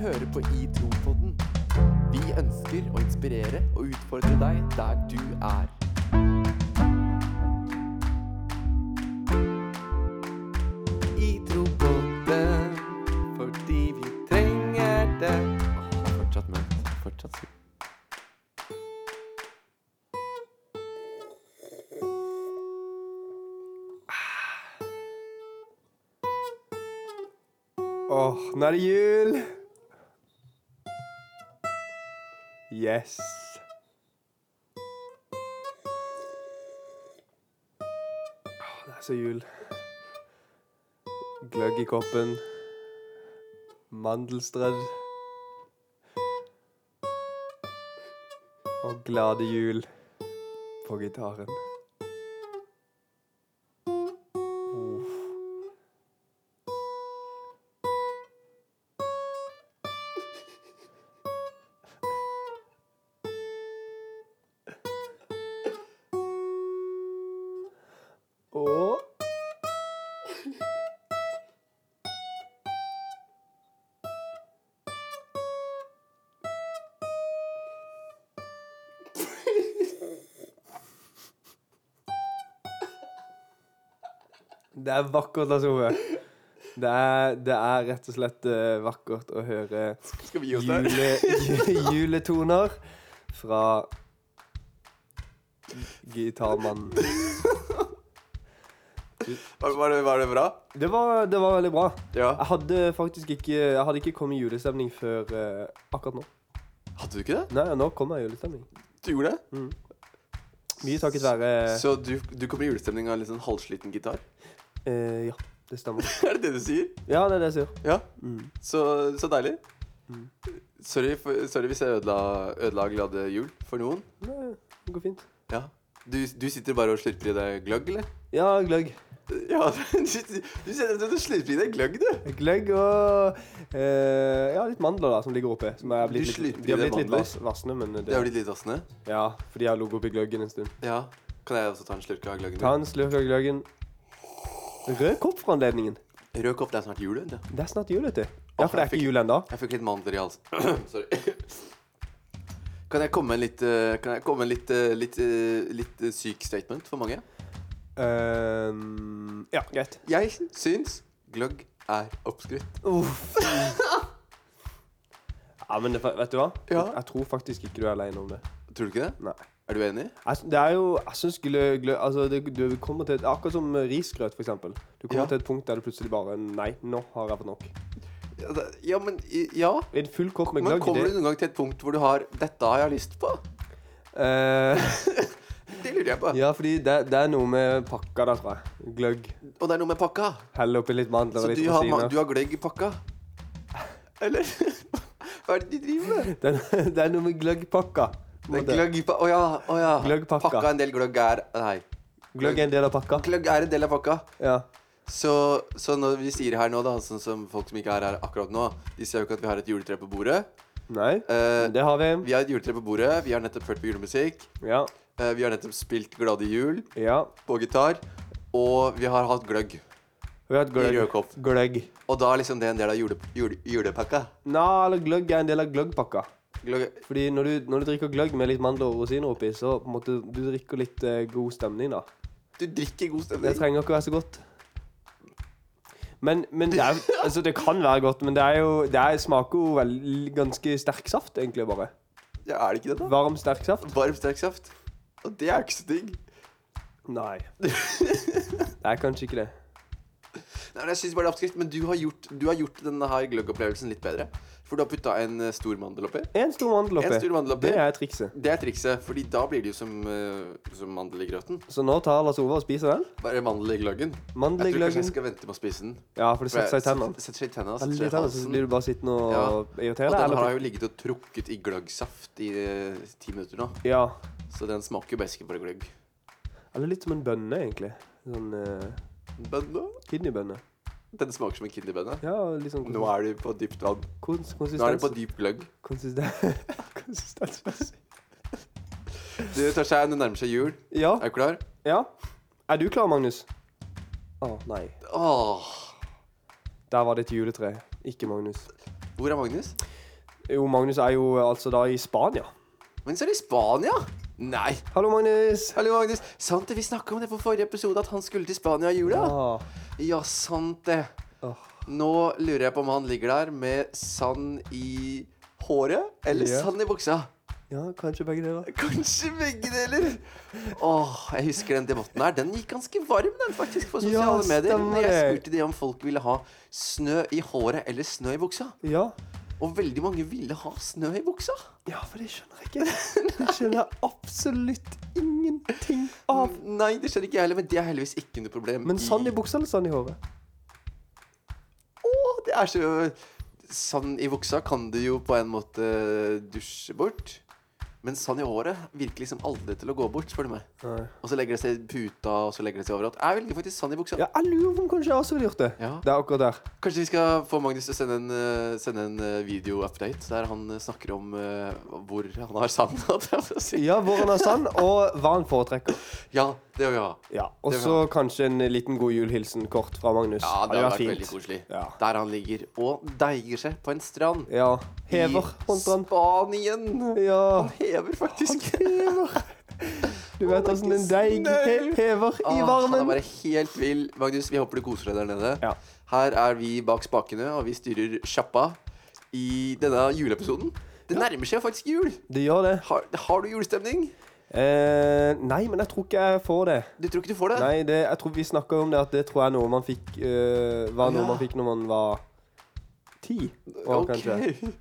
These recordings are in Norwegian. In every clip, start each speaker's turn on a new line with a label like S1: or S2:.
S1: hører på I Tro-podden. Vi ønsker å inspirere og utfordre deg der du er. I Tro-podden, fordi vi trenger det. Åh, fortsatt mørkt. Fortsatt sykt.
S2: Åh, nå er det jul! Yes. Åh, det er så jul. Gløgg i koppen. Mandelstrødd. Og glade jul på gitaren. Uff. Og Det er vakkert, Lars Ove. Det er, det er rett og slett eh, vakkert å høre
S1: Skal vi
S2: jule, ju- juletoner fra gitarmannen.
S1: Var det, bra?
S2: Det var, det var veldig bra.
S1: Ja.
S2: Jeg hadde faktisk ikke Jeg hadde ikke kommet i julestemning før eh, akkurat nå.
S1: Hadde du ikke det?
S2: Nei, nå kommer jeg i julestemning.
S1: Du gjorde det?
S2: Mye takket være
S1: Så du, du kom i julestemning av en litt sånn halvsliten gitar?
S2: eh, Ja, det stemmer.
S1: er det det du sier?
S2: Ja, det er det jeg sier.
S1: Ja.
S2: Mm.
S1: Så, så deilig. Mm. Sorry, for, sorry hvis jeg ødela, ødela glade jul for noen.
S2: Nei, det går fint.
S1: Ja. Du, du sitter bare og slurper i deg gløgg, eller?
S2: Ja, gløgg.
S1: Ja, du, du, sitter- du slurper i deg gløgg, du.
S2: Gløgg og eh, Ja, litt mandler da, som ligger oppi. Som er blitt
S1: Du slurper
S2: litt,
S1: i
S2: de har
S1: deg
S2: blitt litt
S1: mandler.
S2: vas- vassne, men det,
S1: Det er jo litt litt vassende.
S2: Ja, for de har ligget oppi gløggen en stund.
S1: Ja. Kan jeg også ta en slurk av gløggen?
S2: Ta
S1: min?
S2: en slurk av gløggen. Rød kopp for anledningen.
S1: Rød kopp, det er snart jul. vet du.
S2: Det er snart jul, vet du. Ja, for det er ikke jul ennå.
S1: Jeg fikk litt mandler i halsen. sorry. Kan jeg komme med en litt, eh, kan jeg komme med en litt, eh, litt, eh, litt eh, syk statement for mange?
S2: Ehm, ja, greit.
S1: Jeg syns gløgg er oppskrytt.
S2: Uff. ja, men det, vet du hva?
S1: Ja.
S2: Jeg tror faktisk ikke du er aleine om det.
S1: Tror du ikke det?
S2: Nei.
S1: Er du enig?
S2: Jeg, sy- det er jo Jeg syns glø, glø, altså det, du kommer til et, Akkurat som eh, risgrøt, for eksempel. Du kommer
S1: Ja.
S2: til et punkt der du plutselig bare Nei, nå har jeg fått nok.
S1: Ja, det- ja men i- Ja.
S2: En full kopp med
S1: Men
S2: gløgg
S1: kommer
S2: det-
S1: du noen gang til et punkt hvor du har 'Dette har jeg lyst på'?
S2: Eh,
S1: Det lurer jeg på.
S2: Ja, fordi det, det er noe med pakka der, tror jeg. Gløgg.
S1: Og det er noe med pakka.
S2: Helle oppi litt mandler
S1: Så
S2: og litt
S1: du har, ma-
S2: rosiner.
S1: du har gløgg i pakka? Eller? Hva er det de driver med?
S2: Det, er- det er noe med gløggpakka. på en
S1: Det er
S2: måte.
S1: gløgg i pakka. Å ja. Å ja.
S2: Gløggpakka.
S1: Pakka en del gløgg er Nei.
S2: Gløgg er en del av pakka.
S1: Gløgg er en del av pakka.
S2: Ja.
S1: Så, så når vi sier her nå, da, sånn som folk som ikke er her akkurat nå De ser jo ikke at vi har et juletre på bordet.
S2: Nei,
S1: Eh,
S2: det har vi.
S1: Vi har et juletre på bordet, vi har nettopp hørt på julemusikk.
S2: Ja.
S1: eh, Vi har nettopp spilt Glade jul
S2: Ja.
S1: på gitar. Og vi har hatt gløgg.
S2: Vi har et
S1: I rød
S2: gløgg.
S1: kopp.
S2: gløgg.
S1: Og da er liksom det en del av jule, jule, julepakka.
S2: Nå, eller gløgg er en del av gløggpakka.
S1: Gløgg-
S2: Fordi når du, når du drikker gløgg med litt mandler og rosiner oppi, så på en måte, du drikker litt eh, god stemning, da.
S1: Du drikker god stemning.
S2: Det trenger ikke å være så godt. Men, men det, er, altså, det kan være godt, men det, er jo, det er, smaker jo vel, ganske sterk saft, egentlig bare.
S1: Ja, er det ikke det, da?
S2: Varm, sterk saft.
S1: Varm, sterk saft. Og det er ikke så digg.
S2: Nei. Det er kanskje ikke det.
S1: Nei, men jeg synes bare det er oppskrift, men du har gjort, du har gjort denne her gløggopplevelsen litt bedre. For du har putta en eh, stor mandel oppi.
S2: En stor mandel
S1: En
S2: oppi.
S1: stor mandel oppi.
S2: Det er trikset.
S1: Det er trikset, fordi da blir det jo som, eh, som mandel i grøten.
S2: Så nå tar Lars Ove og spiser den.
S1: Bare mandel i gløggen.
S2: Mandel i
S1: Jeg tror kanskje
S2: gløggen.
S1: jeg skal vente med å spise den.
S2: Ja, for det
S1: For jeg-
S2: setter seg i tennene.
S1: Setter seg i tennene, setter
S2: Veldig
S1: seg
S2: i
S1: i
S2: tennene, så
S1: halsen.
S2: blir du bare sittende og irritere
S1: Og
S2: deg.
S1: den har
S2: Eller?
S1: jo ligget og trukket i gløggsaft i eh, ti minutter nå.
S2: Ja.
S1: Så den smaker jo best bare gløgg.
S2: Eller litt som en bønne, egentlig. Sånn uh,
S1: Bønne?
S2: kidneybønne.
S1: Den smaker som en kinderbønne.
S2: Ja, litt sånn
S1: Nå er du på dypt vann.
S2: kons
S1: Nå er du
S2: konsistens.
S1: på dyp gløgg.
S2: Konsistens. konsistens.
S1: Du tar seg, det nærmer seg jul.
S2: Ja.
S1: Er du klar?
S2: ja. Er du klar, Magnus? Å, nei.
S1: Åh.
S2: Der var det et juletre. Ikke Magnus.
S1: Hvor er Magnus?
S2: Jo, Magnus er jo eh, altså da i Spania.
S1: Men så er det i Spania! Nei.
S2: Hallo, Magnus.
S1: Hallo, Magnus. Sant det, vi snakka om det på forrige episode, at han skulle til Spania i jula.
S2: Ah,
S1: Ja, sant det.
S2: Åh.
S1: Nå lurer jeg på om han ligger der med sand i håret eller
S2: Ja.
S1: sand i buksa.
S2: ja, kanskje begge deler.
S1: Kanskje begge deler. Åh, jeg husker den debatten her. Den gikk ganske varm, den, faktisk, på
S2: Ja,
S1: sosiale medier.
S2: stemmer
S1: Når jeg
S2: det.
S1: spurte de om folk ville ha snø i håret eller snø i buksa.
S2: Ja.
S1: Og veldig mange ville ha snø i buksa.
S2: ja, for det skjønner jeg ikke. Det skjønner jeg absolutt ingenting av.
S1: Mm, Nei, det skjønner ikke jeg heller, men det er heldigvis ikke noe problem.
S2: Men sand i buksa eller sand i håret?
S1: Åh, det er så Sand i buksa kan du jo på en måte dusje bort. Men sand i håret virker liksom aldri til å gå bort, spør du meg.
S2: Nei.
S1: Og så legger det seg i puta, og så legger det seg overalt. Jeg velger faktisk sand i buksa.
S2: Ja, jeg lurer på om kanskje jeg også ville gjort det.
S1: Ja.
S2: Det er akkurat der.
S1: Kanskje vi skal få Magnus til å sende en, eh, sende en eh, video-update der han eh, snakker om eh, hvor han har sand. holdt jeg på å si.
S2: Ja, hvor han har sand, og hva han foretrekker.
S1: Ja, det vil vi ha.
S2: Ja, Og
S1: Det vil
S2: så kanskje en liten god jul-hilsen kort fra Magnus.
S1: Ja, det har vært veldig koselig.
S2: Ja.
S1: Der han ligger og deiger seg på en strand.
S2: ja. Hever
S1: I
S2: håndtrent.
S1: Spanien.
S2: Ja.
S1: Han hever
S2: Han
S1: faktisk.
S2: hever. Du vet åssen en deig he hever i
S1: Åh, Han er
S2: varmen.
S1: bare helt vill. Magnus, vi håper du koser deg der nede.
S2: Ja.
S1: Her er vi bak spakene, og vi styrer sjappa i denne juleepisoden. Det nærmer seg faktisk jul.
S2: Det gjør det.
S1: Har, har du julestemning?
S2: Eh, nei, men jeg tror ikke jeg får det.
S1: Du tror ikke du får det?
S2: Nei, det, jeg tror vi snakka om det at det tror jeg er noe man fikk eh, Var noe
S1: Ja.
S2: man fikk når man var ti år,
S1: Ok.
S2: kanskje.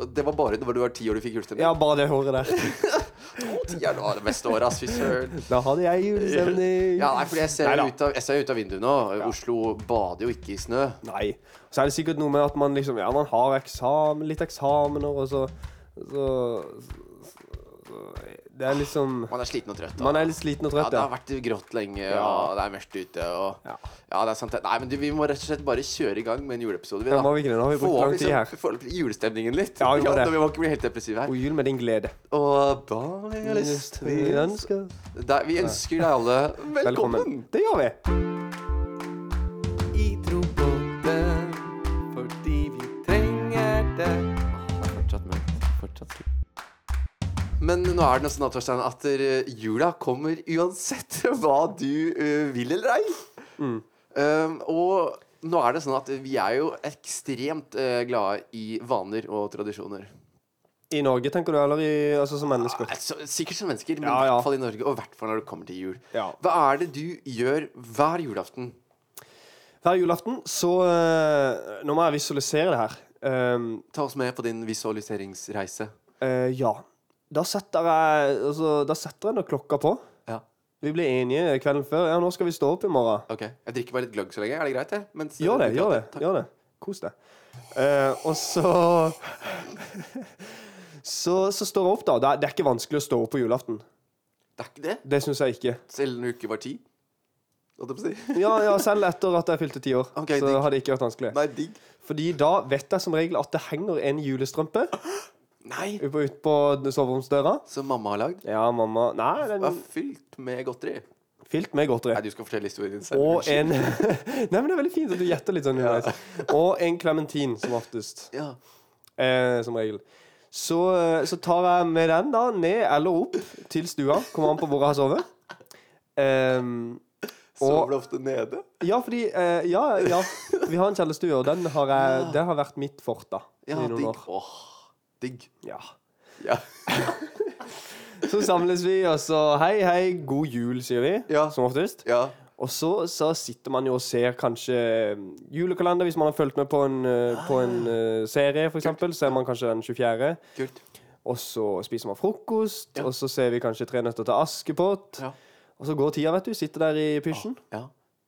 S1: Og Det var bare når du var ti år du fikk julestemning?
S2: Ja, bare det håret der.
S1: Å, ti er nå det beste året, ass. Fy søren.
S2: Da hadde jeg julestemning.
S1: Ja, nei, fordi jeg ser
S2: Neida.
S1: jo ut av, jeg ser jo ut av vinduet nå. Oslo bader jo ikke i snø.
S2: Nei. Så er det sikkert noe med at man liksom Ja, man har eksamen, litt eksamener, og så så, så Det er liksom
S1: Man er sliten og trøtt. da.
S2: Man er litt sliten og
S1: ja,
S2: trøtt,
S1: det har
S2: ja.
S1: vært grått lenge,
S2: Ja.
S1: og det er mørkt ute. Og...
S2: Ja.
S1: Ja. det er sant. det. Nei, men du, vi må rett og slett bare kjøre i gang med en juleepisode. Vi,
S2: Ja,
S1: da.
S2: må vi ikke det? Nå har vi
S1: Få
S2: brukt
S1: opp
S2: lang tid
S1: liksom-
S2: her.
S1: Få opp julestemningen litt.
S2: Ja, vi må det.
S1: vi må ikke bli helt depressive her.
S2: God jul med din glede.
S1: Og da har jeg lyst
S2: Vi ønsker
S1: Der, Vi ønsker deg alle velkommen.
S2: Velkommen. Det gjør vi.
S1: I trobåten fordi vi trenger det. Fortsatt med. Fortsatt Men nå er det noe sånn at, Torstein, at eh, jula kommer uansett hva du eh, vil eller ei.
S2: Mm.
S1: Eh, og nå er det sånn at vi er jo ekstremt eh, glade i vaner og tradisjoner.
S2: I Norge, tenker du, eller i, altså som mennesker?
S1: Altså, sikkert som mennesker, men i
S2: Ja, ja.
S1: hvert fall i Norge, og i hvert fall når det kommer til jul.
S2: Ja.
S1: Hva er det du gjør hver julaften?
S2: Hver julaften så eh, Nå må jeg visualisere det her. Ehm,
S1: Ta oss med på din visualiseringsreise.
S2: eh, ja. Da setter jeg altså, Da setter jeg nå klokka på.
S1: Ja.
S2: Vi blir enige kvelden før. Ja, nå skal vi stå opp i morgen.
S1: Ok, Jeg drikker bare litt gløgg så lenge. Er det greit, det? Mens
S2: Gjør det,
S1: du
S2: gjør det.
S1: prater?
S2: gjør det. Kos deg. Eh, og så, så Så står jeg opp, da. Det er, det er ikke vanskelig å stå opp på julaften.
S1: Det er ikke det?
S2: Det syns jeg ikke.
S1: Selv når du ikke var ti? Holdt jeg på å si.
S2: Ja, ja, selv etter at jeg fylte ti år,
S1: Ok,
S2: så
S1: digg.
S2: har det ikke vært vanskelig.
S1: Nei, digg.
S2: Fordi da vet jeg som regel at det henger en julestrømpe
S1: Nei,
S2: ut på- ut på soveromsdøra.
S1: Som mamma har lagd.
S2: Ja, mamma Nei, den
S1: Var fylt med godteri.
S2: er fylt med
S1: Nei,
S2: godteri.
S1: du skal fortelle historien din selv.
S2: Og
S1: unnskyld.
S2: en Nei, men det er veldig fint at du gjetter litt sånn underveis. Og en klementin, som oftest.
S1: Ja.
S2: eh, som regel. Så, eh, så tar jeg med den da ned eller opp til stua. Kommer an på hvor jeg har sovet. Ehm,
S1: Sover du ofte nede?
S2: ja, fordi eh, Ja, ja. Vi har en kjellerstue, og den har jeg, det har vært mitt fort da i
S1: Ja,
S2: noen
S1: digg.
S2: år.
S1: Åh, digg.
S2: Ja.
S1: Ja.
S2: Så samles vi, og så hei, hei, god jul, sier vi.
S1: Ja.
S2: Som oftest.
S1: ja.
S2: Og så, så sitter man jo og ser kanskje ehm, julekalender, hvis man har fulgt med på en, eh, på en
S1: Ah.
S2: eh, serie, for eksempel. Ser man kanskje den 24.
S1: Kult.
S2: Og så spiser man frokost,
S1: Ja.
S2: og så ser vi kanskje Tre nøtter til Askepott.
S1: Ja.
S2: Og så går tida, vet du. Sitter der i pysjen.
S1: ja.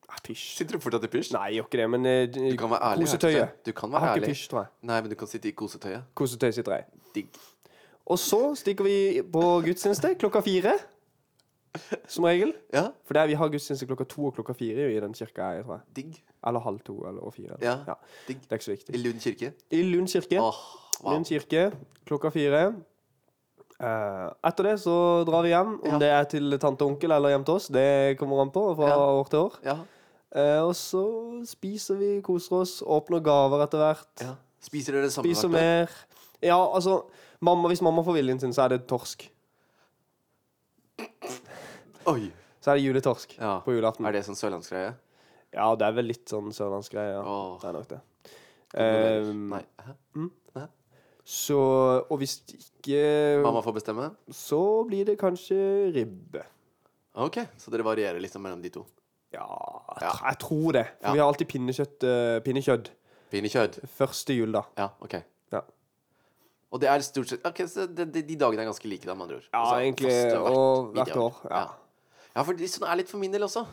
S2: Ah, pysj.
S1: Sitter du fortsatt i pysj?
S2: Nei, gjør ikke det, men eh,
S1: Du kan være ærlig.
S2: kosetøyet.
S1: Herte. Du kan
S2: Jeg
S1: være
S2: har ikke
S1: ærlig.
S2: pysj, tror jeg.
S1: Nei, men du kan sitte i kosetøyet.
S2: Kosetøy sitter jeg i.
S1: Digg.
S2: Og så stikker vi på gudstjeneste klokka fire. Som regel.
S1: Ja,
S2: For det er, vi har gudstjeneste klokka to og klokka fire i den kirka her, tror jeg.
S1: digg.
S2: Eller halv to eller og fire.
S1: Ja,
S2: Ja.
S1: digg.
S2: Det er ikke så viktig.
S1: I Lund kirke.
S2: I Lund kirke.
S1: Åh, wow.
S2: Lund kirke klokka fire. Eh, etter det så drar vi hjem. Om
S1: Ja.
S2: det er til tante og onkel eller hjem til oss, det kommer an på fra
S1: Ja.
S2: år til år.
S1: Ja,
S2: Eh, og så spiser vi, koser oss, åpner gaver etter hvert.
S1: ja. Spiser dere det samme
S2: Spiser
S1: hvert år?
S2: mer. Ja, altså mamma, Hvis mamma får viljen sin, så er det torsk.
S1: Oi!
S2: Så er det juletorsk
S1: Ja.
S2: på julaften.
S1: Er det sånn sørlandsgreie?
S2: Ja, det er vel litt sånn sørlandsgreie. Ja.
S1: Åh.
S2: Det er nok det. Ehm,
S1: Nei. Hæ?
S2: Så Og hvis ikke
S1: Mamma får bestemme?
S2: Så blir det kanskje ribbe.
S1: Ah, Ok, så dere varierer liksom mellom de to.
S2: Ja, jeg
S1: Ja.
S2: tr- jeg tror det. For
S1: Ja.
S2: vi har alltid pinnekjøtt, eh, pinnekjøtt
S1: Pinnekjøtt.
S2: første jul, da.
S1: Ja, ok.
S2: Ja.
S1: Og det er stort sett Ok, så de, de, de dagene er ganske like, da, med andre ord.
S2: Ja,
S1: Altså,
S2: egentlig,
S1: faste
S2: og
S1: bidrag.
S2: hvert år, ja. Mm.
S1: ja. Ja, for det- sånn er litt for min del også.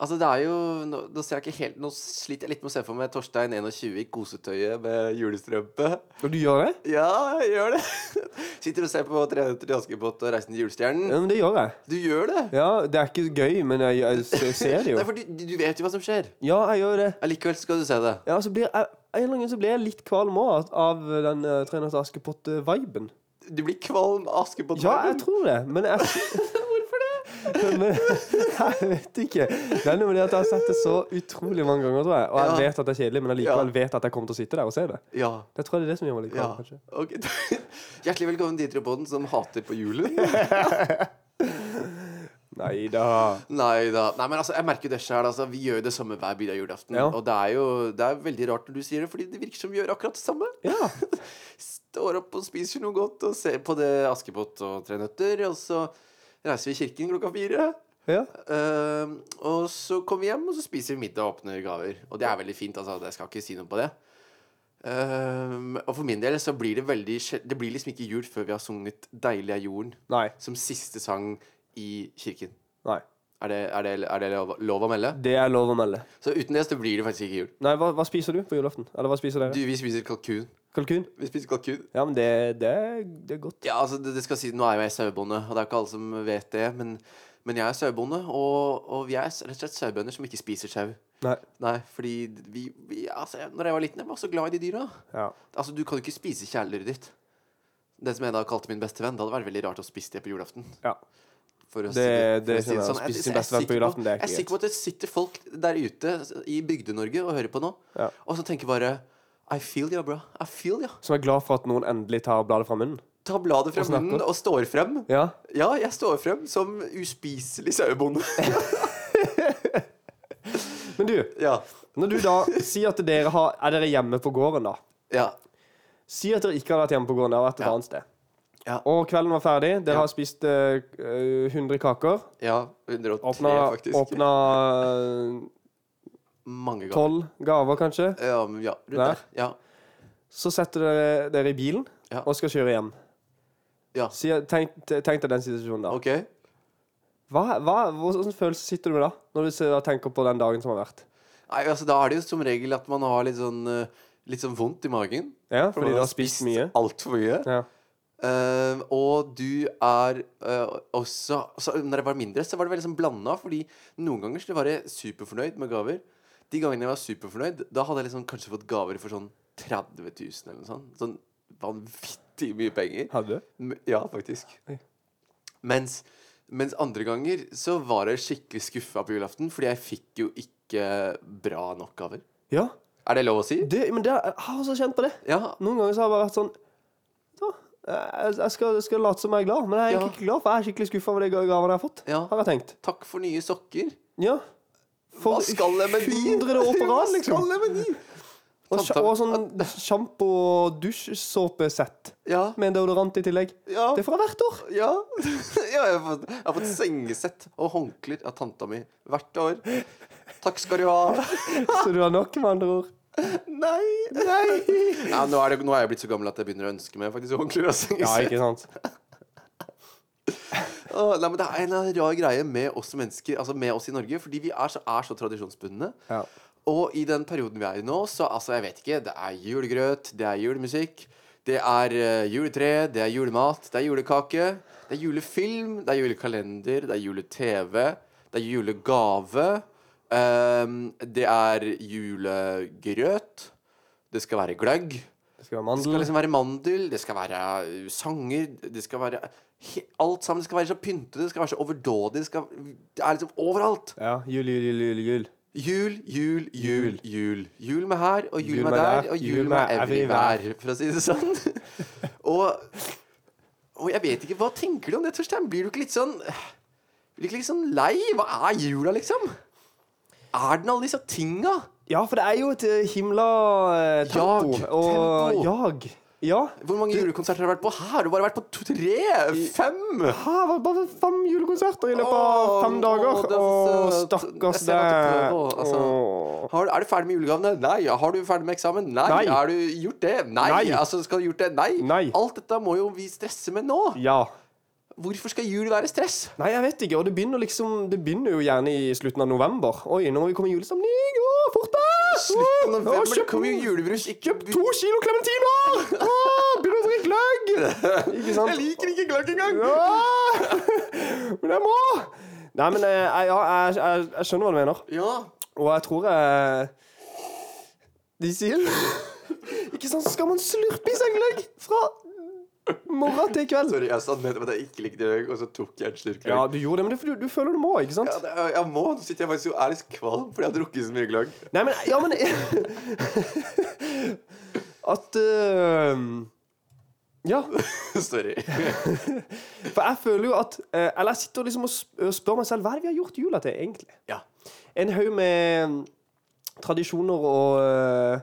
S1: Altså, det er jo nå, nå ser jeg ikke helt Nå sliter jeg litt med å se for meg Torstein 21 i kosetøyet med julestrømpe.
S2: Og du gjør det?
S1: Ja, jeg gjør det. Sitter og ser på 300 til Askepott og Reisen til julestjernen.
S2: Ja, men det gjør jeg.
S1: Du gjør det!
S2: Ja, Det er ikke gøy, men jeg, jeg se- ser det
S1: Nei,
S2: jo.
S1: for du, du vet jo hva som skjer.
S2: Ja, jeg gjør det.
S1: Allikevel skal du se det.
S2: Ja, så blir jeg, av en eller annen grunn så blir jeg litt kvalm òg av den uh, Tre nøtter til Askepott-viben.
S1: Du blir kvalm av Askepott.
S2: Ja, jeg tror det, men jeg Hvorfor det? men, jeg vet ikke. Det er noe med det at jeg har sett det så utrolig mange ganger, tror jeg. Og jeg
S1: Ja.
S2: vet at det er kjedelig, men jeg
S1: Ja.
S2: likevel vet at jeg kommer til å sitte der og se det.
S1: Ja.
S2: Jeg tror det er det som gjør meg litt
S1: ja.
S2: kvalm, kanskje.
S1: Ok. Hjertelig velkommen dit til podden som hater på julen.
S2: Nei da.
S1: Nei da. Nei, men altså, jeg merker jo det sjøl. Altså, vi gjør jo det samme hver bidag julaften.
S2: Ja.
S1: Og det er jo det er veldig rart når du sier det, fordi det virker som vi gjør akkurat det samme.
S2: Ja.
S1: Står opp og spiser noe godt og ser på det Askepott og Tre nøtter, og så reiser vi i kirken klokka fire.
S2: ja.
S1: Ehm, og så kommer vi hjem, og så spiser vi middag og åpner gaver. Og det er veldig fint. altså, Jeg skal ikke si noe på det. Ehm, og for min del så blir det veldig sjel- Det blir liksom ikke jul før vi har sunget 'Deilig er jorden'
S2: Nei.
S1: som siste sang i kirken.
S2: Nei.
S1: Er det, er det, er det lov, lov å melde?
S2: Det er lov å melde.
S1: Så uten det så blir det faktisk ikke jul.
S2: Nei, hva, hva spiser du på julaften? Eller hva spiser dere?
S1: Du, vi spiser kalkun.
S2: Kalkun?
S1: Vi spiser kalkun.
S2: Ja, men det, det, er- det er godt.
S1: Ja, altså, det, det skal si, Nå er jo jeg sauebonde, og det er ikke alle som vet det, men, men jeg er sauebonde, og, og vi er s- rett og slett sauebønder som ikke spiser sau.
S2: Nei.
S1: Nei, fordi vi, vi altså, jeg- Når jeg var liten, jeg var så glad i de dyra.
S2: Ja.
S1: Altså, du kan jo ikke spise kjæledyret ditt. Det som jeg da kalte min beste venn. Det hadde vært veldig rart å spise det på julaften.
S2: ja.
S1: For å
S2: Det-
S1: si det, for
S2: det
S1: å si det
S2: skjønner jeg.
S1: sånn. Jeg-
S2: Spise
S1: jeg
S2: sin
S1: er
S2: beste venn på
S1: sikker
S2: julaften, det er ikke
S1: Jeg er sikker på at det sitter folk der ute i Bygde-Norge og hører på nå,
S2: Ja.
S1: og så tenker bare I feel ya, bro. I feel ya.
S2: Som er glad for at noen endelig tar bladet fra munnen.
S1: Ta bladet fra
S2: Og snakker.
S1: munnen og står frem.
S2: Ja.
S1: Ja, jeg står frem som uspiselig sauebonde.
S2: Men du,
S1: ja.
S2: når du da sier at dere har, er dere hjemme på gården, da.
S1: ja.
S2: Si at dere ikke har vært hjemme på gården, dere har vært et
S1: Ja.
S2: annet sted.
S1: Ja.
S2: Og kvelden var ferdig, dere
S1: Ja.
S2: har spist eh, eh, 100 kaker.
S1: Ja. 103,
S2: Åpna,
S1: faktisk.
S2: åpna
S1: Mange ganger.
S2: 12 gaver, kanskje.
S1: Ja, men ja, rundt
S2: Der.
S1: der. Ja.
S2: Så setter dere dere i bilen
S1: Ja.
S2: og skal kjøre hjem.
S1: Ja.
S2: Si, tenk, tenk deg den situasjonen da.
S1: OK.
S2: Hva, hva, hvordan følelse sitter du med da, når du ser- tenker på den dagen som har vært?
S1: Nei, altså, da er det jo som regel at man har litt sånn eh, Litt sånn vondt i magen.
S2: Ja,
S1: man
S2: fordi du har spist mye.
S1: Altfor mye.
S2: Ja.
S1: Eh, og du er eh, også altså, Når jeg var mindre, så var det veldig sånn blanda. Fordi noen ganger skulle jeg være superfornøyd med gaver. De gangene jeg var superfornøyd, da hadde jeg liksom kanskje fått gaver for sånn 30 000 eller noe sånt. Sånn vanvittig mye penger.
S2: Hadde du?
S1: M- Ja, faktisk.
S2: Oi.
S1: Mens, mens andre ganger så var jeg skikkelig skuffa på julaften, fordi jeg fikk jo ikke bra nok gaver.
S2: Ja.
S1: Er det lov å si?
S2: Det, men det, jeg har også kjent på det.
S1: Ja.
S2: Noen ganger så har jeg bare vært sånn da, jeg, jeg skal, jeg skal late som jeg er glad, men jeg er egentlig
S1: Ja.
S2: ikke glad, for jeg er skikkelig skuffa over de gavene jeg har fått.
S1: Ja.
S2: Har jeg tenkt.
S1: Takk for nye sokker.
S2: Ja.
S1: Hva skal jeg med de?
S2: hundrede år på
S1: Hva
S2: rad, liksom.
S1: skal jeg med de?
S2: Og, sj-
S1: Tante-
S2: og sånn sjampo- og dusjsåpesett
S1: Ja.
S2: med en deodorant i tillegg.
S1: Ja.
S2: Det er fra hvert år.
S1: ja. ja jeg, har fått, jeg har fått sengesett og håndklær av tanta mi hvert år. Takk skal du ha.
S2: Så du har nok, med andre ord.
S1: Nei, nei. Ja, nå, er det, nå er jeg blitt så gammel at jeg begynner å ønske meg faktisk håndklær og sengesett.
S2: ikke sant?
S1: Åh, nei, men Det er en eller annen rar greie med oss mennesker Altså med oss i Norge, fordi vi er så, er så tradisjonsbundne.
S2: Ja.
S1: Og i den perioden vi er i nå, så altså, jeg vet ikke Det er julegrøt, det er julemusikk, det er eh, juletre, det er julemat, det er julekake, det er julefilm, det er julekalender, det er jule-TV, det er julegave, ehm, det er julegrøt, det skal være gløgg.
S2: Det skal
S1: Det
S2: være
S1: skal
S2: mandel.
S1: liksom være mandel, det skal være uh, sanger, det skal være uh, he- Alt sammen det skal være så pyntete, det skal være så overdådig, det skal Det er liksom overalt.
S2: Ja. Jul, jul, jul, jul. jul.
S1: Jul, jul, jul, jul. Jul med her, og jul,
S2: Jul
S1: med
S2: med
S1: der,
S2: der,
S1: og jul,
S2: jul
S1: med
S2: med
S1: everywhere, for å si det sånn. og, og jeg vet ikke, hva tenker du om det, Torstein? Blir du ikke litt sånn Blir du ikke litt sånn lei? Hva er jula, liksom? Er den alle disse tinga?
S2: Ja, for det er jo et eh, himla eh, tempo.
S1: Jag,
S2: og
S1: tempo.
S2: jag. Ja.
S1: Hvor mange julekonserter har du vært på? Her har du bare vært på to, tre, fem!
S2: Hæ, var det bare fem julekonserter i løpet av
S1: Åh,
S2: fem dager.
S1: åh, det er så
S2: Åh,
S1: søt. Jeg
S2: stakkars
S1: ser
S2: deg.
S1: at du prøver, altså.
S2: Åh.
S1: Har, er du ferdig med julegavene? Nei. Har du ferdig med eksamen? Nei.
S2: Nei.
S1: Har du gjort det? Nei.
S2: Nei.
S1: Altså, skal du gjort det? Nei.
S2: Nei.
S1: Alt dette må jo vi stresse med nå.
S2: Ja.
S1: Hvorfor skal jul være stress?
S2: Nei, jeg vet ikke. Og det begynner, liksom, det begynner jo gjerne i slutten av november. Oi, nå må vi komme i julestemning! Åh, fort deg!
S1: Slutten av november det
S2: kjøp-
S1: kommer jo julebrus. Ikke
S2: Kjøp to kilo klementiner! Åh, Begynner å drikke gløgg! Ikke sant?
S1: Jeg liker ikke gløgg engang!
S2: Ja! Men jeg må! Nei, men eh, jeg, ja, jeg, jeg, jeg skjønner hva du mener.
S1: Ja.
S2: Og jeg tror jeg De sier Ikke sant, så skal man slurpe i seg gløgg fra morgen til kveld.
S1: Sorry, jeg sa nettopp at jeg ikke likte gløgg, og så tok jeg en slurk
S2: Ja,
S1: gløgg.
S2: du gjorde det, men det er fordi du, du føler du må, ikke sant?
S1: Ja, det- jeg må. Nå sitter jeg faktisk og er litt kvalm fordi jeg har drukket så mye gløgg.
S2: Nei, men Ja, men At eh, Ja.
S1: Sorry.
S2: For jeg føler jo at eh, Eller jeg sitter liksom og sp- og spør meg selv hva er det vi har gjort jula til, egentlig?
S1: Ja.
S2: En haug med mm, tradisjoner og eh,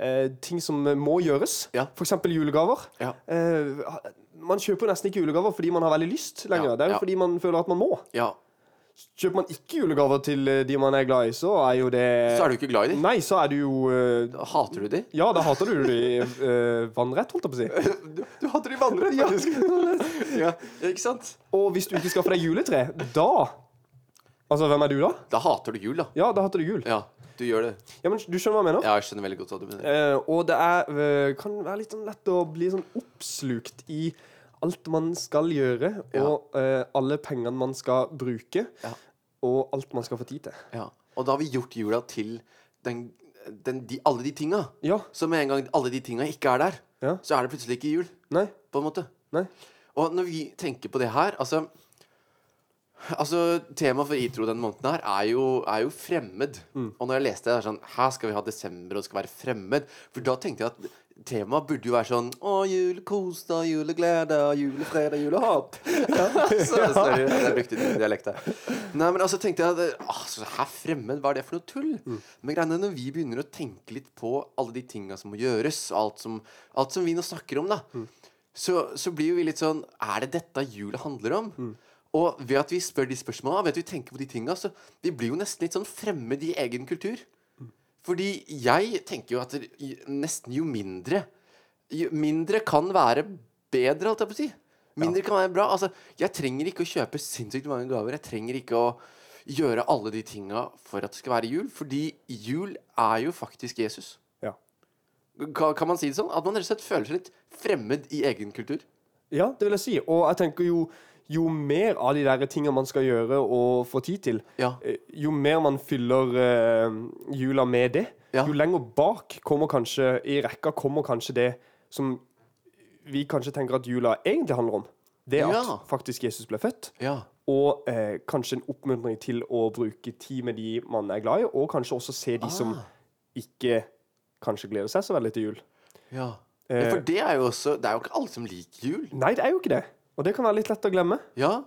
S2: eh, ting som må gjøres.
S1: Ja.
S2: For eksempel julegaver.
S1: Ja.
S2: Eh, ha- man kjøper jo nesten ikke julegaver fordi man har veldig lyst lenger.
S1: Ja,
S2: Det er jo
S1: ja.
S2: fordi man føler at man må.
S1: ja.
S2: Kjøper man ikke julegaver til eh, de man er glad i, så er jo det
S1: Så er du ikke glad i dem?
S2: Nei, så er du jo eh,
S1: Hater du dem?
S2: Ja, da hater du de eh, vannrett, holdt jeg på å si.
S1: Du, du hater dem vandrere, faktisk. ja. Ikke sant?
S2: Og hvis du ikke skaffer deg juletre, da Altså, hvem er du da?
S1: Da hater du jul, da.
S2: Ja, da hater du jul.
S1: Ja, du gjør det.
S2: Ja, men Du skjønner hva jeg mener?
S1: Ja, jeg skjønner veldig godt hva du mener.
S2: Eh, og det er, eh, kan være litt sånn lett å bli sånn oppslukt i alt man skal gjøre, og eh, alle pengene man skal bruke,
S1: Ja.
S2: og alt man skal få tid til.
S1: Ja. Og da har vi gjort jula til den, den, de, alle de tinga.
S2: Ja.
S1: Så med en gang alle de tinga ikke er der,
S2: Ja.
S1: så er det plutselig ikke jul.
S2: Nei.
S1: På en måte.
S2: Nei.
S1: Og når vi tenker på det her, altså Altså, Temaet for ITRO denne måneden her er jo, er jo fremmed. Og når jeg leste det, er det sånn Her skal vi ha desember og det skal være fremmed. For da tenkte jeg at temaet burde jo være sånn Å, jul, kos deg, juleglede, julefredag, julehåp. så, sorry, jeg brukte din dialekt her. Nei, men altså tenkte jeg at altså, Her fremmed, hva er det for noe tull? Men greiene er når vi begynner å tenke litt på alle de tinga som må gjøres, alt som, alt som vi nå snakker om, da så, så blir jo vi litt sånn Er det dette jula handler om? Og ved at vi spør de spørsmåla, ved at vi tenker på de tinga, så vi blir jo nesten litt sånn fremmed i egen kultur. Fordi jeg tenker jo at det- i- nesten jo mindre jo Mindre kan være bedre, holdt jeg på å si. Mindre kan være bra. Altså, jeg trenger ikke å kjøpe sinnssykt mange gaver. Jeg trenger ikke å gjøre alle de tinga for at det skal være jul. Fordi jul er jo faktisk Jesus.
S2: Ja.
S1: Kan, kan man si det sånn? At man rett og slett føler seg litt fremmed i egen kultur.
S2: ja, det vil jeg si. Og jeg tenker jo jo mer av de der tingene man skal gjøre og få tid til,
S1: Ja.
S2: eh, jo mer man fyller eh, jula med det,
S1: Ja.
S2: jo lenger bak kommer kanskje i rekka kommer kanskje det som vi kanskje tenker at jula egentlig handler om. Det at
S1: Ja.
S2: faktisk Jesus ble født,
S1: Ja.
S2: og eh, kanskje en oppmuntring til å bruke tid med de man er glad i, og kanskje også se de som
S1: Ah.
S2: ikke kanskje gleder seg så veldig til jul.
S1: ja.
S2: Eh.
S1: for det er jo også Det er jo ikke alle som liker jul.
S2: Nei, det er jo ikke det. Og det kan være litt lett å glemme.
S1: Ja.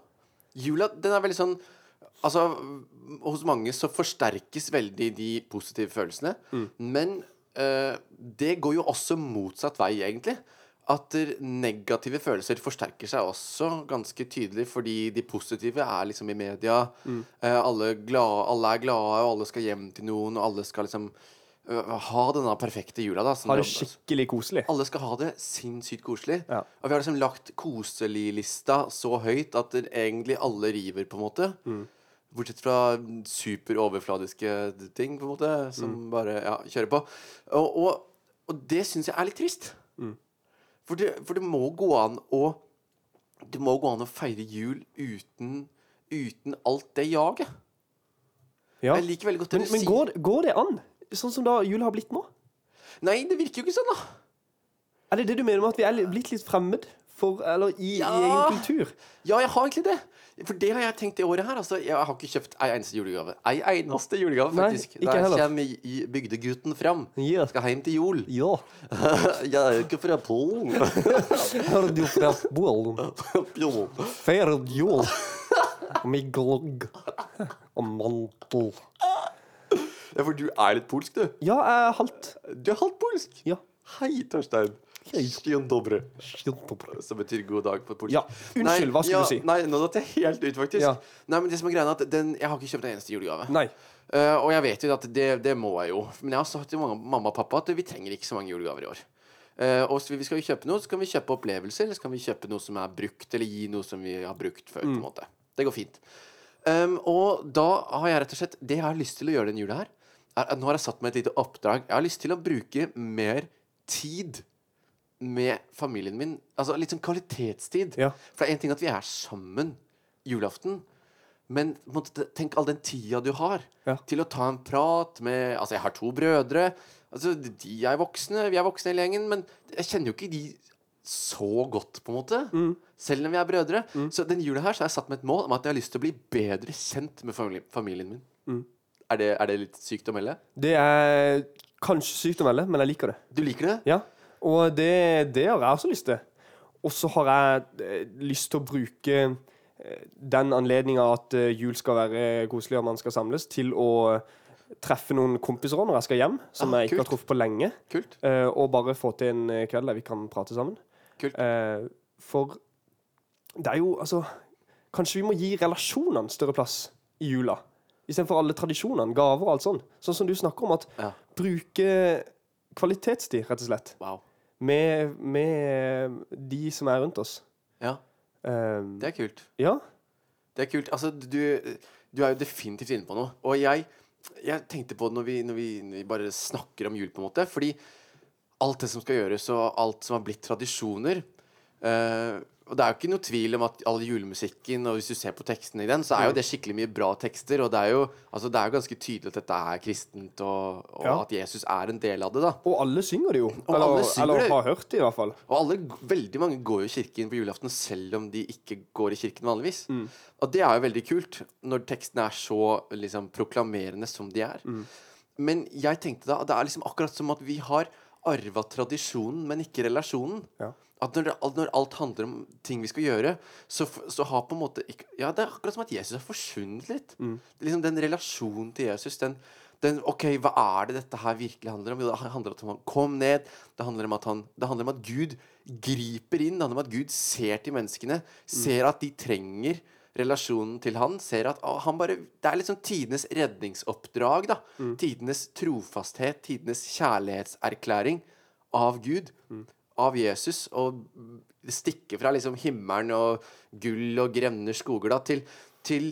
S1: Jula, den er veldig sånn Altså, hos mange så forsterkes veldig de positive følelsene.
S2: Mm.
S1: Men eh, det går jo også motsatt vei, egentlig. At der negative følelser forsterker seg også ganske tydelig, fordi de positive er liksom i media.
S2: Mm.
S1: Eh, alle, glade, alle er glade, og alle skal hjem til noen, og alle skal liksom eh, ha denne perfekte jula, da. som
S2: Ha det
S1: de-
S2: skikkelig koselig.
S1: alle skal ha det sinnssykt koselig.
S2: Ja.
S1: Og vi har liksom lagt koselig-lista så høyt at det egentlig alle river, på en måte.
S2: Mm.
S1: Bortsett fra superoverfladiske ting, på en måte, som
S2: Mm.
S1: bare ja, kjører på. Og, og, og det syns jeg er litt trist.
S2: Mm.
S1: For, det, for det må gå an å Det må gå an å feire jul uten, uten alt det jaget.
S2: Ja.
S1: Jeg liker veldig godt det
S2: Men,
S1: du
S2: men
S1: sier.
S2: går, går det an? Sånn som da jula har blitt nå?
S1: Nei, det virker jo ikke sånn, da.
S2: Er det det du mener med at vi er li- blitt litt fremmed for, eller i, i egen
S1: Ja.
S2: kultur.
S1: Ja, jeg har egentlig det. For det har jeg tenkt det året her. Altså, jeg har ikke kjøpt ei eneste julegave. Ei eneste julegave,
S2: Nei,
S1: faktisk.
S2: ikke
S1: Der
S2: heller.
S1: kommer i- i bygdegutten fram.
S2: Ja.
S1: Skal hjem til jul.
S2: Ja.
S1: jeg er jo ikke fra Polen.
S2: Har du vært bolig?
S1: Jo.
S2: Feiret jul med glogg og mantel.
S1: Ja, for du er litt polsk, du.
S2: Ja, jeg er halvt.
S1: Du er halvt polsk.
S2: Ja.
S1: Hei, Torstein.
S2: Hei.
S1: Skien dobre.
S2: kjempeprøv.
S1: Som betyr god dag på polsk.
S2: Ja, unnskyld,
S1: Nei,
S2: hva skulle
S1: ja,
S2: du si?
S1: Nei, nå datt jeg helt ut, faktisk.
S2: Ja.
S1: Nei, men det som er greia er at den, Jeg har ikke kjøpt en eneste julegave.
S2: Nei.
S1: Eh, og jeg vet jo at det, det må jeg jo. Men jeg har sagt til mange, mamma og pappa at vi trenger ikke så mange julegaver i år. Eh, og hvis vi skal jo kjøpe noe, så kan vi kjøpe opplevelser, eller så kan vi kjøpe noe som er brukt, eller gi noe som vi har brukt før. på en måte. Det går fint. Em, og da har jeg rett og slett Det jeg har lyst til å gjøre denne jula her, er at nå har jeg satt meg et lite oppdrag. Jeg har lyst til å bruke mer tid med familien min. Altså litt sånn kvalitetstid.
S2: Ja.
S1: For det er én ting at vi er sammen julaften, men på en måte, te- tenk all den tida du har
S2: Ja.
S1: til å ta en prat med Altså, jeg har to brødre. Altså, de er voksne, vi er voksne hele gjengen, men jeg kjenner jo ikke de så godt, på en måte. Selv om vi er brødre. Så den jula her så har jeg satt meg et mål om at jeg har lyst til å bli bedre kjent med famili familien min. Er, det, er det litt sykt å melde?
S2: Det er kanskje sykt å melde, men jeg liker det.
S1: Du liker det?
S2: Ja. Og det, det har jeg også lyst til. Og så har jeg eh, lyst til å bruke eh, den anledninga at eh, jul skal være koselig og man skal samles, til å treffe noen kompiser også når jeg skal hjem, som
S1: Ah,
S2: jeg ikke
S1: kult.
S2: har truffet på lenge.
S1: Kult.
S2: Eh, og bare få til en eh, kveld der vi kan prate sammen.
S1: Kult.
S2: Eh, for det er jo altså Kanskje vi må gi relasjonene større plass i jula. Istedenfor alle tradisjonene, gaver og alt sånn. Sånn som du snakker om at
S1: Ja.
S2: bruke kvalitetstid, rett og slett,
S1: Wow.
S2: med, med eh, de som er rundt oss.
S1: Ja,
S2: Eh,
S1: det er kult.
S2: ja.
S1: Det er kult. Altså, du, du er jo definitivt inne på noe. Og jeg, jeg tenkte på det når vi, når, vi, når vi bare snakker om jul, på en måte. Fordi alt det som skal gjøres, og alt som har blitt tradisjoner eh, Og det er jo ikke noe tvil om at all julemusikken, og hvis du ser på tekstene i den, så er jo det skikkelig mye bra tekster. Og det er jo, altså, det er jo ganske tydelig at dette er kristent, og, og
S2: Ja.
S1: at Jesus er en del av det, da.
S2: Og alle synger det jo.
S1: Og
S2: eller,
S1: alle synger det.
S2: eller har hørt det, i hvert fall.
S1: Og alle, veldig mange går jo i kirken på julaften selv om de ikke går i kirken vanligvis. Og det er jo veldig kult når tekstene er så liksom, proklamerende som de er. Men jeg tenkte da at det er liksom akkurat som at vi har arva tradisjonen, men ikke relasjonen.
S2: Ja.
S1: At når, det, alt- når alt handler om ting vi skal gjøre, så, f- så har på en måte ikke, Ja, det er akkurat som at Jesus har forsvunnet litt. Det er Liksom Den relasjonen til Jesus, den, den OK, hva er det dette her virkelig handler om? Jo, det handler om at han kom ned. Det handler om at, han, det handler om at Gud griper inn. Det handler om at Gud ser til menneskene. Ser at de trenger relasjonen til han. Ser at å, han bare Det er liksom tidenes redningsoppdrag, da. Tidenes trofasthet, tidenes kjærlighetserklæring av Gud, av Jesus, og stikke fra liksom himmelen og gull og grønne skoger da, til, til,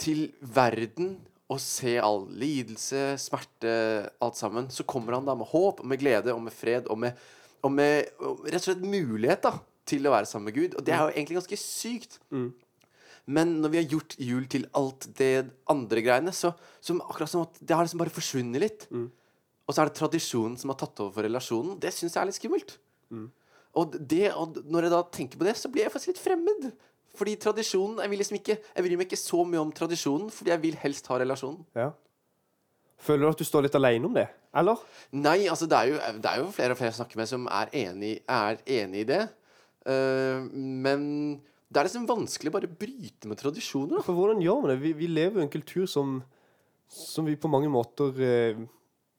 S1: til verden og se all lidelse, smerte, alt sammen, så kommer han da med håp, og med glede og med fred og med, og med og rett og slett mulighet da, til å være sammen med Gud. Og det er jo egentlig ganske sykt. Men når vi har gjort jul til alt det andre greiene, så, så akkurat som at det har liksom bare forsvunnet litt. Og så er det tradisjonen som har tatt over for relasjonen. Det syns jeg er litt skummelt. Og, det, og når jeg da tenker på det, så blir jeg faktisk litt fremmed. Fordi tradisjonen Jeg vil liksom ikke Jeg bryr meg ikke så mye om tradisjonen, fordi jeg vil helst ha relasjonen.
S2: Ja. Føler du at du står litt alene om det? Eller?
S1: Nei, altså det er jo, det er jo flere og flere jeg snakker med som er enig, er enig i det. Eh, men det er liksom vanskelig bare å bryte med tradisjoner. da.
S2: For hvordan gjør man det? Vi, vi lever jo i en kultur som, som vi på mange måter eh,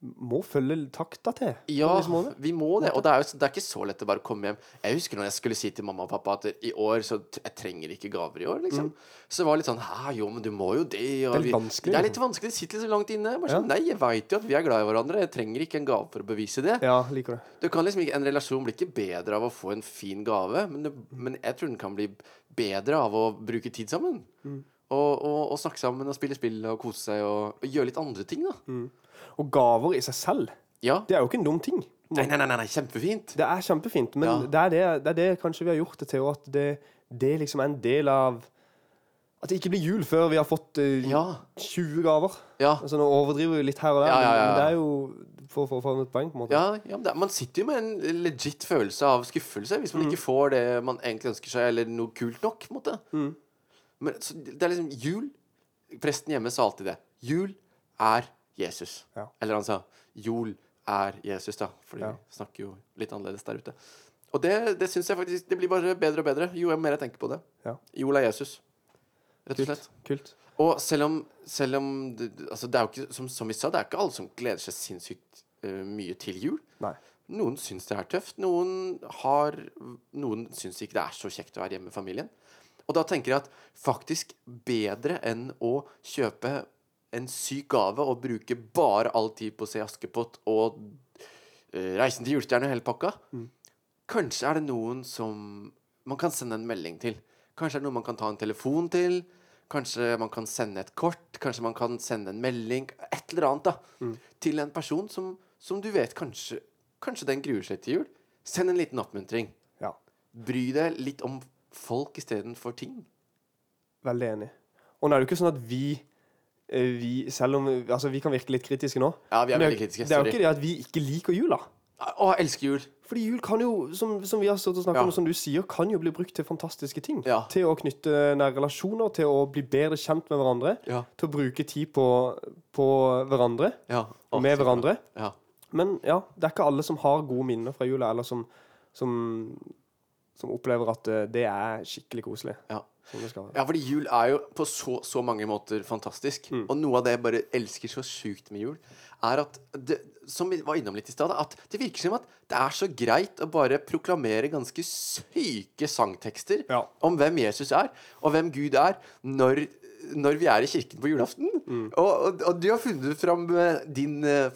S2: må følge takta til. på
S1: Ja,
S2: visse måter.
S1: vi må det. Og det er jo det er ikke så lett å bare komme hjem. Jeg husker når jeg skulle si til mamma og pappa at i år så t- jeg trenger ikke gaver i år, liksom. Så det var litt sånn Hæ, jo, men du må jo det. Og
S2: Mm. Det er litt
S1: vi-
S2: vanskelig,
S1: Det er litt
S2: liksom.
S1: vanskelig. Det sitter litt så langt inne. Bare sånn, Nei, jeg veit jo at vi er glad i hverandre. Jeg trenger ikke en gave for å bevise det.
S2: Ja, liker det.
S1: Du kan liksom ikke, En relasjon blir ikke bedre av å få en fin gave, men, det, men jeg tror den kan bli bedre av å bruke tid sammen.
S2: Mm.
S1: Og, og, og snakke sammen og spille spill og kose seg og, og gjøre litt andre ting, da.
S2: Mm. Og gaver i seg selv,
S1: Ja.
S2: det er jo ikke en dum ting.
S1: Nei, nei, nei, nei, nei, kjempefint.
S2: Det er kjempefint, men
S1: Ja.
S2: det, er det, det er det kanskje vi har gjort det til, og at det, det liksom er en del av At det ikke blir jul før vi har fått eh,
S1: Ja.
S2: 20 gaver.
S1: Ja.
S2: Altså Nå overdriver vi litt her og der,
S1: Ja, ja, ja, ja.
S2: men det er jo for å få fram et poeng. på en måte.
S1: Ja, ja men det, er- Man sitter jo med en legit følelse av skuffelse hvis man
S2: Mm.
S1: ikke får det man egentlig ønsker seg, eller noe kult nok. på en måte
S2: Mm.
S1: Men så, det er liksom jul Presten hjemme sa alltid det. Jul er Jesus.
S2: Ja.
S1: Eller han sa jol er Jesus, da. For de
S2: Ja.
S1: snakker jo litt annerledes der ute. Og det, det syns jeg faktisk Det blir bare bedre og bedre jo mer jeg tenker på det.
S2: Ja.
S1: Jol er Jesus, rett og slett.
S2: Kult. Kult.
S1: Og selv om, selv om det, altså det er jo ikke, som, som vi sa, det er ikke alle som gleder seg sinnssykt eh, mye til jul.
S2: Nei.
S1: Noen syns det er tøft. Noen, har, noen syns ikke det er så kjekt å være hjemme med familien. Og da tenker jeg at faktisk bedre enn å kjøpe en syk gave og bruke bare all tid på å se Askepott og eh, Reisen til julestjernen og hele pakka Kanskje er det noen som man kan sende en melding til. Kanskje er det noen man kan ta en telefon til. Kanskje man kan sende et kort. Kanskje man kan sende en melding. Et eller annet, da.
S2: Mm.
S1: Til en person som, som du vet kanskje Kanskje den gruer seg til jul. Send en liten oppmuntring.
S2: Ja.
S1: Bry deg litt om folk istedenfor ting.
S2: Veldig enig. Og nå er det jo ikke sånn at vi eh, vi, selv om, altså vi kan virke litt kritiske nå.
S1: Ja, vi er
S2: men det
S1: veldig kritiske,
S2: Det er
S1: sorry.
S2: jo ikke det at vi ikke liker jula.
S1: Å, jeg elsker jul!
S2: Fordi jul kan jo, som, som vi har stått og snakket
S1: Ja.
S2: om, som du sier, kan jo bli brukt til fantastiske ting.
S1: Ja.
S2: Til å knytte nære relasjoner, til å bli bedre kjent med hverandre.
S1: Ja.
S2: Til å bruke tid på, på hverandre,
S1: Ja. Å,
S2: og med
S1: så bra.
S2: hverandre.
S1: Ja.
S2: Men ja, det er ikke alle som har gode minner fra jula, eller som, som, som opplever at eh, det er skikkelig koselig.
S1: Ja.
S2: Som det skal være.
S1: ja, fordi jul er jo på så, så mange måter fantastisk.
S2: Mm.
S1: Og noe av det jeg bare elsker så sjukt med jul, er at det, Som vi var innom litt i stad, at det virker som at det er så greit å bare proklamere ganske syke sangtekster
S2: Ja.
S1: om hvem Jesus er, og hvem Gud er, når når vi er i kirken på julaften.
S2: Mm.
S1: Og, og, og du har funnet fram eh, din eh,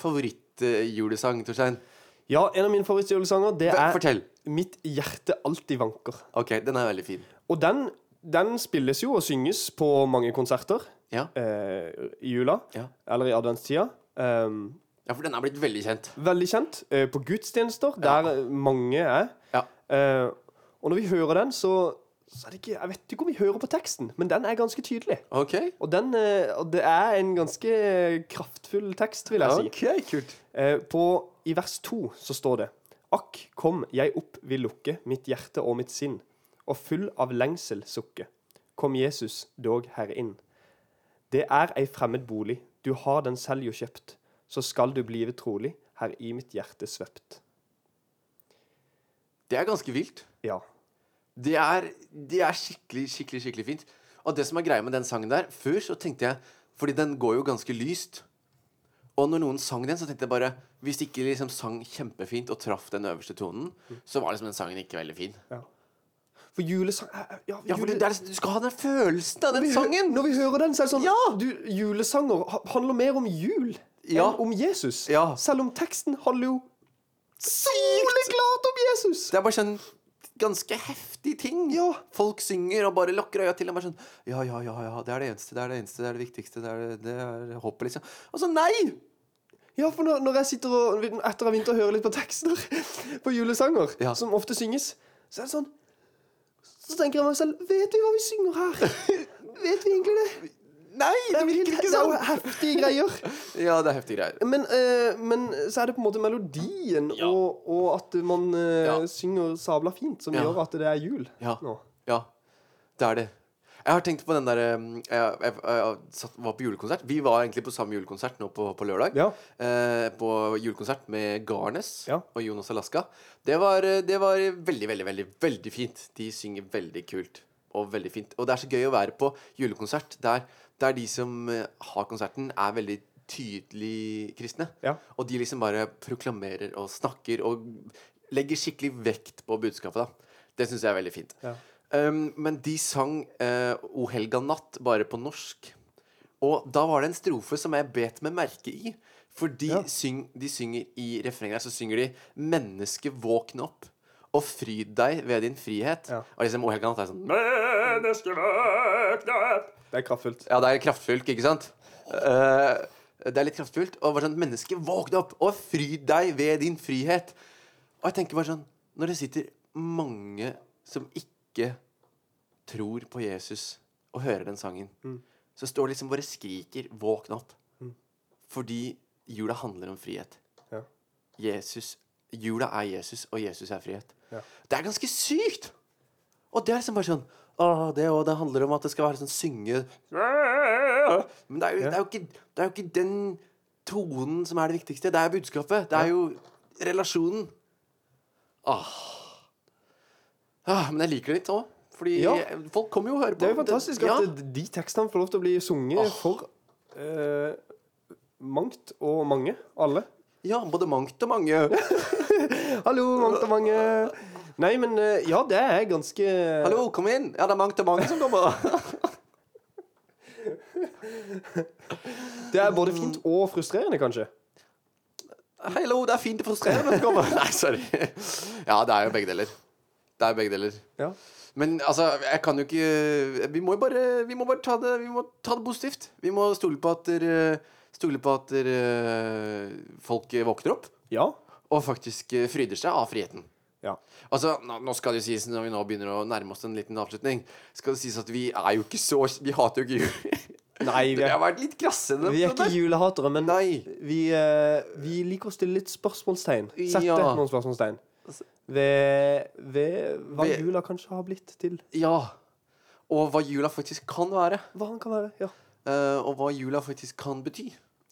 S1: favorittjulesang, Torstein.
S2: Ja, en av mine favorittjulesanger, det
S1: Hva-
S2: er
S1: fortell.
S2: Mitt hjerte alltid vanker.
S1: Ok, den er veldig fin.
S2: Og den, den spilles jo og synges på mange konserter
S1: Ja.
S2: eh, i jula,
S1: Ja.
S2: eller i adventstida. Um,
S1: ja, for den er blitt veldig kjent.
S2: veldig kjent eh, på gudstjenester, der eh, mange er.
S1: Ja.
S2: Eh, og når vi hører den, så, så er det ikke Jeg vet ikke om vi hører på teksten, men den er ganske tydelig.
S1: Ok.
S2: Og, den, eh, og det er en ganske kraftfull tekst, vil jeg si.
S1: kult.
S2: Eh, på, I vers to så står det Akk, kom, jeg opp vil lukke mitt hjerte og mitt sinn, og full av lengsel sukke. Kom Jesus, dog herre inn. Det er ei fremmed bolig, du har den selv jo kjøpt, så skal du blive trolig, her i mitt hjerte svøpt.
S1: Det er ganske vilt.
S2: Ja.
S1: Det er, det er skikkelig, skikkelig, skikkelig fint. Og det som er greia med den sangen der Før så tenkte jeg Fordi den går jo ganske lyst. Og når noen sang den, så tenkte jeg bare Hvis de ikke liksom sang kjempefint og traff den øverste tonen, så var liksom den sangen ikke veldig fin.
S2: ja. For julesang eh, eh,
S1: Ja, for
S2: jule-
S1: det er, liksom- Du skal ha den følelsen av den
S2: Vi hø-
S1: sangen!
S2: Når vi hører den, så er det sånn
S1: Ja!
S2: du, Julesanger ha- handler mer om jul
S1: Ja.
S2: enn om Jesus.
S1: Ja.
S2: Selv om teksten handler jo soleklart om Jesus.
S1: Det er bare sånn ganske heftig ting.
S2: Ja.
S1: Folk synger og bare lukker øya til. Og bare sånn, ja, ja, ja, ja, det er det eneste, det er det eneste, det er det viktigste, det er, det- det er håpet, liksom. Og så nei!
S2: Ja, for når, når jeg sitter og etter å ha begynt å høre litt på tekster på julesanger,
S1: Ja.
S2: som ofte synges, så er det sånn Så tenker jeg meg selv Vet vi hva vi synger her? Vet vi egentlig det?
S1: Nei, det virker
S2: Det
S1: ikke
S2: er jo
S1: sånn!
S2: heftige greier.
S1: Ja, det er heftige greier.
S2: Men, eh, men så er det på en måte melodien
S1: Ja.
S2: og, og at man eh,
S1: Ja.
S2: synger sabla fint, som
S1: Ja.
S2: gjør at det er jul
S1: Ja.
S2: nå.
S1: Ja, det er det. Jeg har tenkt på den der um, Jeg, jeg, jeg satt, var på julekonsert. Vi var egentlig på samme julekonsert nå på, på lørdag.
S2: Ja.
S1: Eh, på julekonsert med Garnes
S2: Ja.
S1: og Jonas Alaska. Det var, eh, det var veldig, veldig, veldig veldig fint. De synger veldig kult og veldig fint. Og det er så gøy å være på julekonsert der, der de som eh, har konserten, er veldig tydelig kristne.
S2: Ja.
S1: Og de liksom bare proklamerer og snakker og legger skikkelig vekt på budskapet. da. Det syns jeg er veldig fint.
S2: Ja.
S1: Um, men de sang eh, O helga natt bare på norsk. Og da var det en strofe som jeg bet meg merke i. For de,
S2: Ja.
S1: syng, de synger i refrenget der, så synger de 'Menneske, våkn opp'. Og fryd deg ved din frihet.
S2: Ja.
S1: Og liksom O helga natt er sånn Menneske, våkn opp!
S2: Det er kraftfullt.
S1: Ja, det er kraftfullt, ikke sant? Eh, det er litt kraftfullt. Og bare sånn, menneske, våkne opp og fryd deg ved din frihet. Og jeg tenker bare sånn Når det sitter mange som ikke tror på Jesus, og hører den sangen, så står det liksom bare skriker 'våkn opp'. Fordi jula handler om frihet.
S2: Ja.
S1: Jesus, Jula er Jesus, og Jesus er frihet.
S2: Ja.
S1: Det er ganske sykt! Og det er liksom bare sånn Åh, det, og det handler om at det skal være sånn synge Men det er jo, det er jo, ikke, det er jo ikke den tonen som er det viktigste. Det er budskapet. Det er jo relasjonen. Åh. Ah, men jeg liker det litt òg. Fordi
S2: Ja.
S1: folk kommer jo og hører på.
S2: Det er jo fantastisk
S1: ja.
S2: at eh, de tekstene får lov til å bli sunget for eh, mangt og mange. Alle.
S1: ja, både mangt og mange.
S2: Hallo, mangt og mange. Nei, men eh, ja, det er ganske
S1: Hallo, kom inn! Ja, det er mangt og mange som kommer.
S2: Det er både fint og frustrerende, kanskje.
S1: Hallo, det er fint og frustrerende å komme. Nei, sorry. Ja, det er jo begge deler. Det er begge deler.
S2: Ja.
S1: Men altså, jeg kan jo ikke Vi må jo bare, vi må bare ta, det, vi må ta det positivt. Vi må stole på at, der, stole på at der, folk våkner opp
S2: Ja.
S1: og faktisk eh, fryder seg av friheten.
S2: ja.
S1: Altså, nå, nå skal det jo sies Når vi nå begynner å nærme oss en liten avslutning, skal det sies at vi er jo ikke så Vi hater jo ikke jul.
S2: Nei,
S1: Vi
S2: vi
S1: har
S2: er,
S1: vært litt krasse. med
S2: vi er
S1: det
S2: ikke
S1: der.
S2: julehatere, men
S1: Nei.
S2: vi, eh, vi liker å stille litt spørsmålstegn. Sette
S1: Ja. Altså-
S2: noen spørsmålstegn. Ved, ved hva
S1: Ved-
S2: jula kanskje har blitt til.
S1: Ja. Og hva jula faktisk kan være.
S2: Hva han kan være. Ja.
S1: eh, og hva jula faktisk kan bety.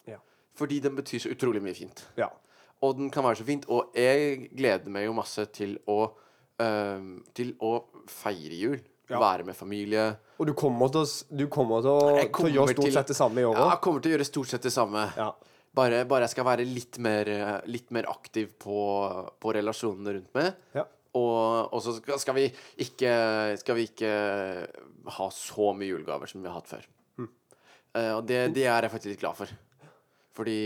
S2: Ja.
S1: Fordi den betyr så utrolig mye fint.
S2: ja.
S1: Og den kan være så fint. Og jeg gleder meg jo masse til å øhm, Til å feire jul.
S2: Ja.
S1: Være med familie.
S2: Og du kommer til å, s- du kommer til å,
S1: Jeg
S2: til å
S1: kommer
S2: gjøre
S1: til-
S2: stort sett det samme i år
S1: Ja,
S2: òg.
S1: jeg kommer til å gjøre stort sett det samme.
S2: Ja.
S1: Bare, bare jeg skal være litt mer, eh, litt mer aktiv på, på relasjonene rundt meg.
S2: Ja.
S1: Og, og så skal, skal, vi ikke, skal vi ikke ha så mye julegaver som vi har hatt før.
S2: Hmm.
S1: Eh, og det, det er jeg faktisk litt glad for. Fordi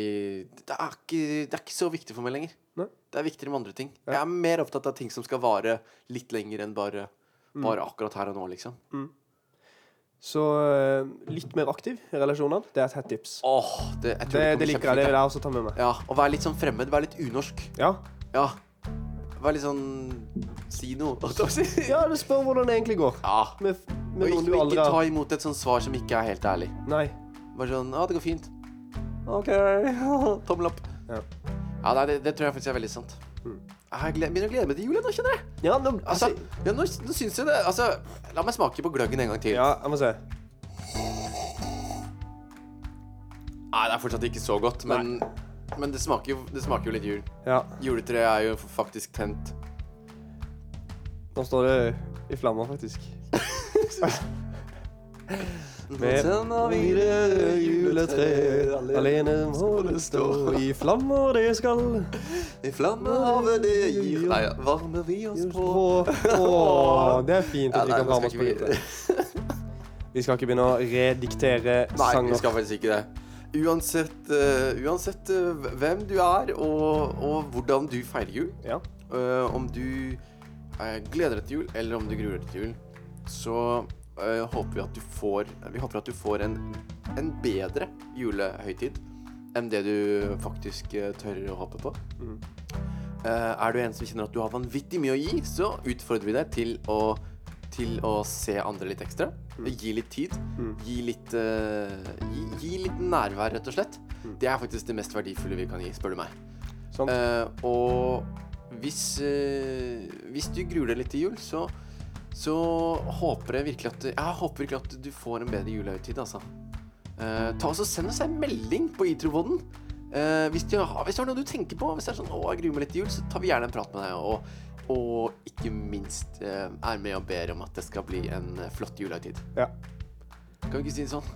S1: det er ikke, det er ikke så viktig for meg lenger.
S2: Nei.
S1: Det er viktigere med andre ting. Jeg er mer opptatt av ting som skal vare litt lenger enn bare,
S2: Hmm.
S1: bare akkurat her og nå, liksom.
S2: Så eh, litt mer aktiv i relasjonene, det er et hett tips.
S1: Åh, det, jeg tror
S2: Det,
S1: det, kommer
S2: det liker jeg. Det
S1: kjempefint.
S2: vil jeg også ta med meg.
S1: Ja, og være litt sånn fremmed. Være litt unorsk.
S2: Ja.
S1: Ja. Være litt sånn Si noe. holdt jeg på å si.
S2: ja, det spør hvordan det egentlig går.
S1: Ja.
S2: Med, f-
S1: Og
S2: med noen du
S1: ikke,
S2: aldri
S1: ikke ta
S2: har
S1: imot et sånt svar som ikke er helt ærlig.
S2: Nei.
S1: Bare sånn Ja, det går fint.
S2: OK.
S1: Tommel opp.
S2: Ja.
S1: Ja, nei, det, det tror jeg faktisk er veldig sant.
S2: Mm.
S1: Ah, Jeg gled, begynner å glede meg til jul, jeg, nå, kjenner jeg.
S2: Ja, nå,
S1: Altså,
S2: altså,
S1: ja, nå, nå syns jeg det Altså, la meg smake på gløggen en gang til.
S2: ja, jeg må se.
S1: Nei, det er fortsatt ikke så godt, men, men det, smaker jo, det smaker jo litt jul.
S2: Ja,
S1: Juletreet er jo faktisk tent.
S2: nå står det i flammer, faktisk. Med hvite juletre alene må det stå i flammer, det skal
S1: I flamme over det gir Nei, ja, varmer vi oss
S2: gjøres
S1: på
S2: på. Åh, det er fint
S1: Ja,
S2: at vi
S1: nei, nå
S2: kan
S1: skal
S2: varme oss på
S1: ikke vi-
S2: juletre. Vi skal ikke begynne å rediktere
S1: Nei, vi
S2: sanger.
S1: skal faktisk ikke det. Uansett, eh, uansett eh, hvem du er, og, og hvordan du feirer jul,
S2: Ja.
S1: eh, om du eh, gleder deg til jul, eller om du gruer deg til jul, så eh, håper vi at du får Vi håper at du får en, en bedre julehøytid enn det du faktisk eh, tør å håpe på.
S2: Mhm.
S1: Eh, er du en som kjenner at du har vanvittig mye å gi, så utfordrer vi deg til å, til å se andre litt ekstra. Gi litt tid.
S2: Mm.
S1: Gi, litt, eh, gi, gi litt nærvær, rett og slett.
S2: Mm.
S1: Det er faktisk det mest verdifulle vi kan gi, spør du meg.
S2: Sant.
S1: Eh, og hvis, eh, hvis du gruer deg litt til jul, så, så håper jeg virkelig at Jeg håper virkelig at du får en bedre julehøytid, altså. Eh, ta oss og Send oss en melding på itroboden. Eh, hvis, du har- hvis det er noe du tenker på, hvis det er sånn, å, jeg gruer meg litt til jul, så tar vi gjerne en prat med deg. Og, og ikke minst eh, er med og ber om at det skal bli en eh, flott julehøytid.
S2: Ja.
S1: Kan vi ikke si det sånn?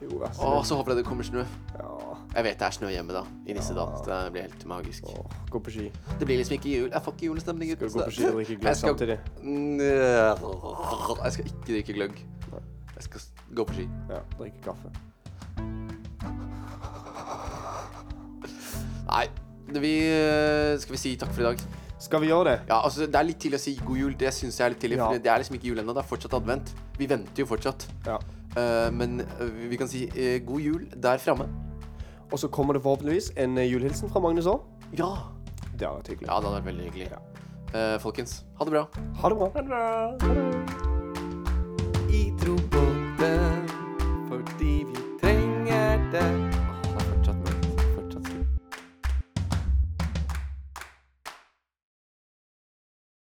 S2: Jo,
S1: Å,
S2: vær så snill.
S1: så håper jeg det kommer snø.
S2: Ja.
S1: Jeg vet det er snø hjemme, da. I Nissedal. så Det blir helt magisk.
S2: Åh, Gå på ski.
S1: Det blir liksom ikke jul. Jeg får ikke julestemning
S2: Skal
S1: uten
S2: du gå på ski og drikke gløgg
S1: Jeg skal-
S2: samtidig?
S1: Nø- Jeg skal ikke drikke gløgg.
S2: Nei.
S1: Jeg skal s- gå på ski.
S2: Ja, drikke kaffe.
S1: Nei, det vi, eh, skal vi si takk for i dag?
S2: Skal vi gjøre det?
S1: Ja, altså Det er litt tidlig å si god jul. Det syns jeg er litt tidlig.
S2: Ja.
S1: For det er liksom ikke jul ennå. Det er fortsatt advent. Vi venter jo fortsatt.
S2: Ja.
S1: Eh, men eh, vi kan si eh, god jul der framme.
S2: Og så kommer det forhåpentligvis en eh, julehilsen fra Magnus òg.
S1: Ja.
S2: Det har vært hyggelig.
S1: ja, det hadde vært veldig hyggelig. Eh, folkens, ha det bra.
S2: Ha det bra. Ha det bra.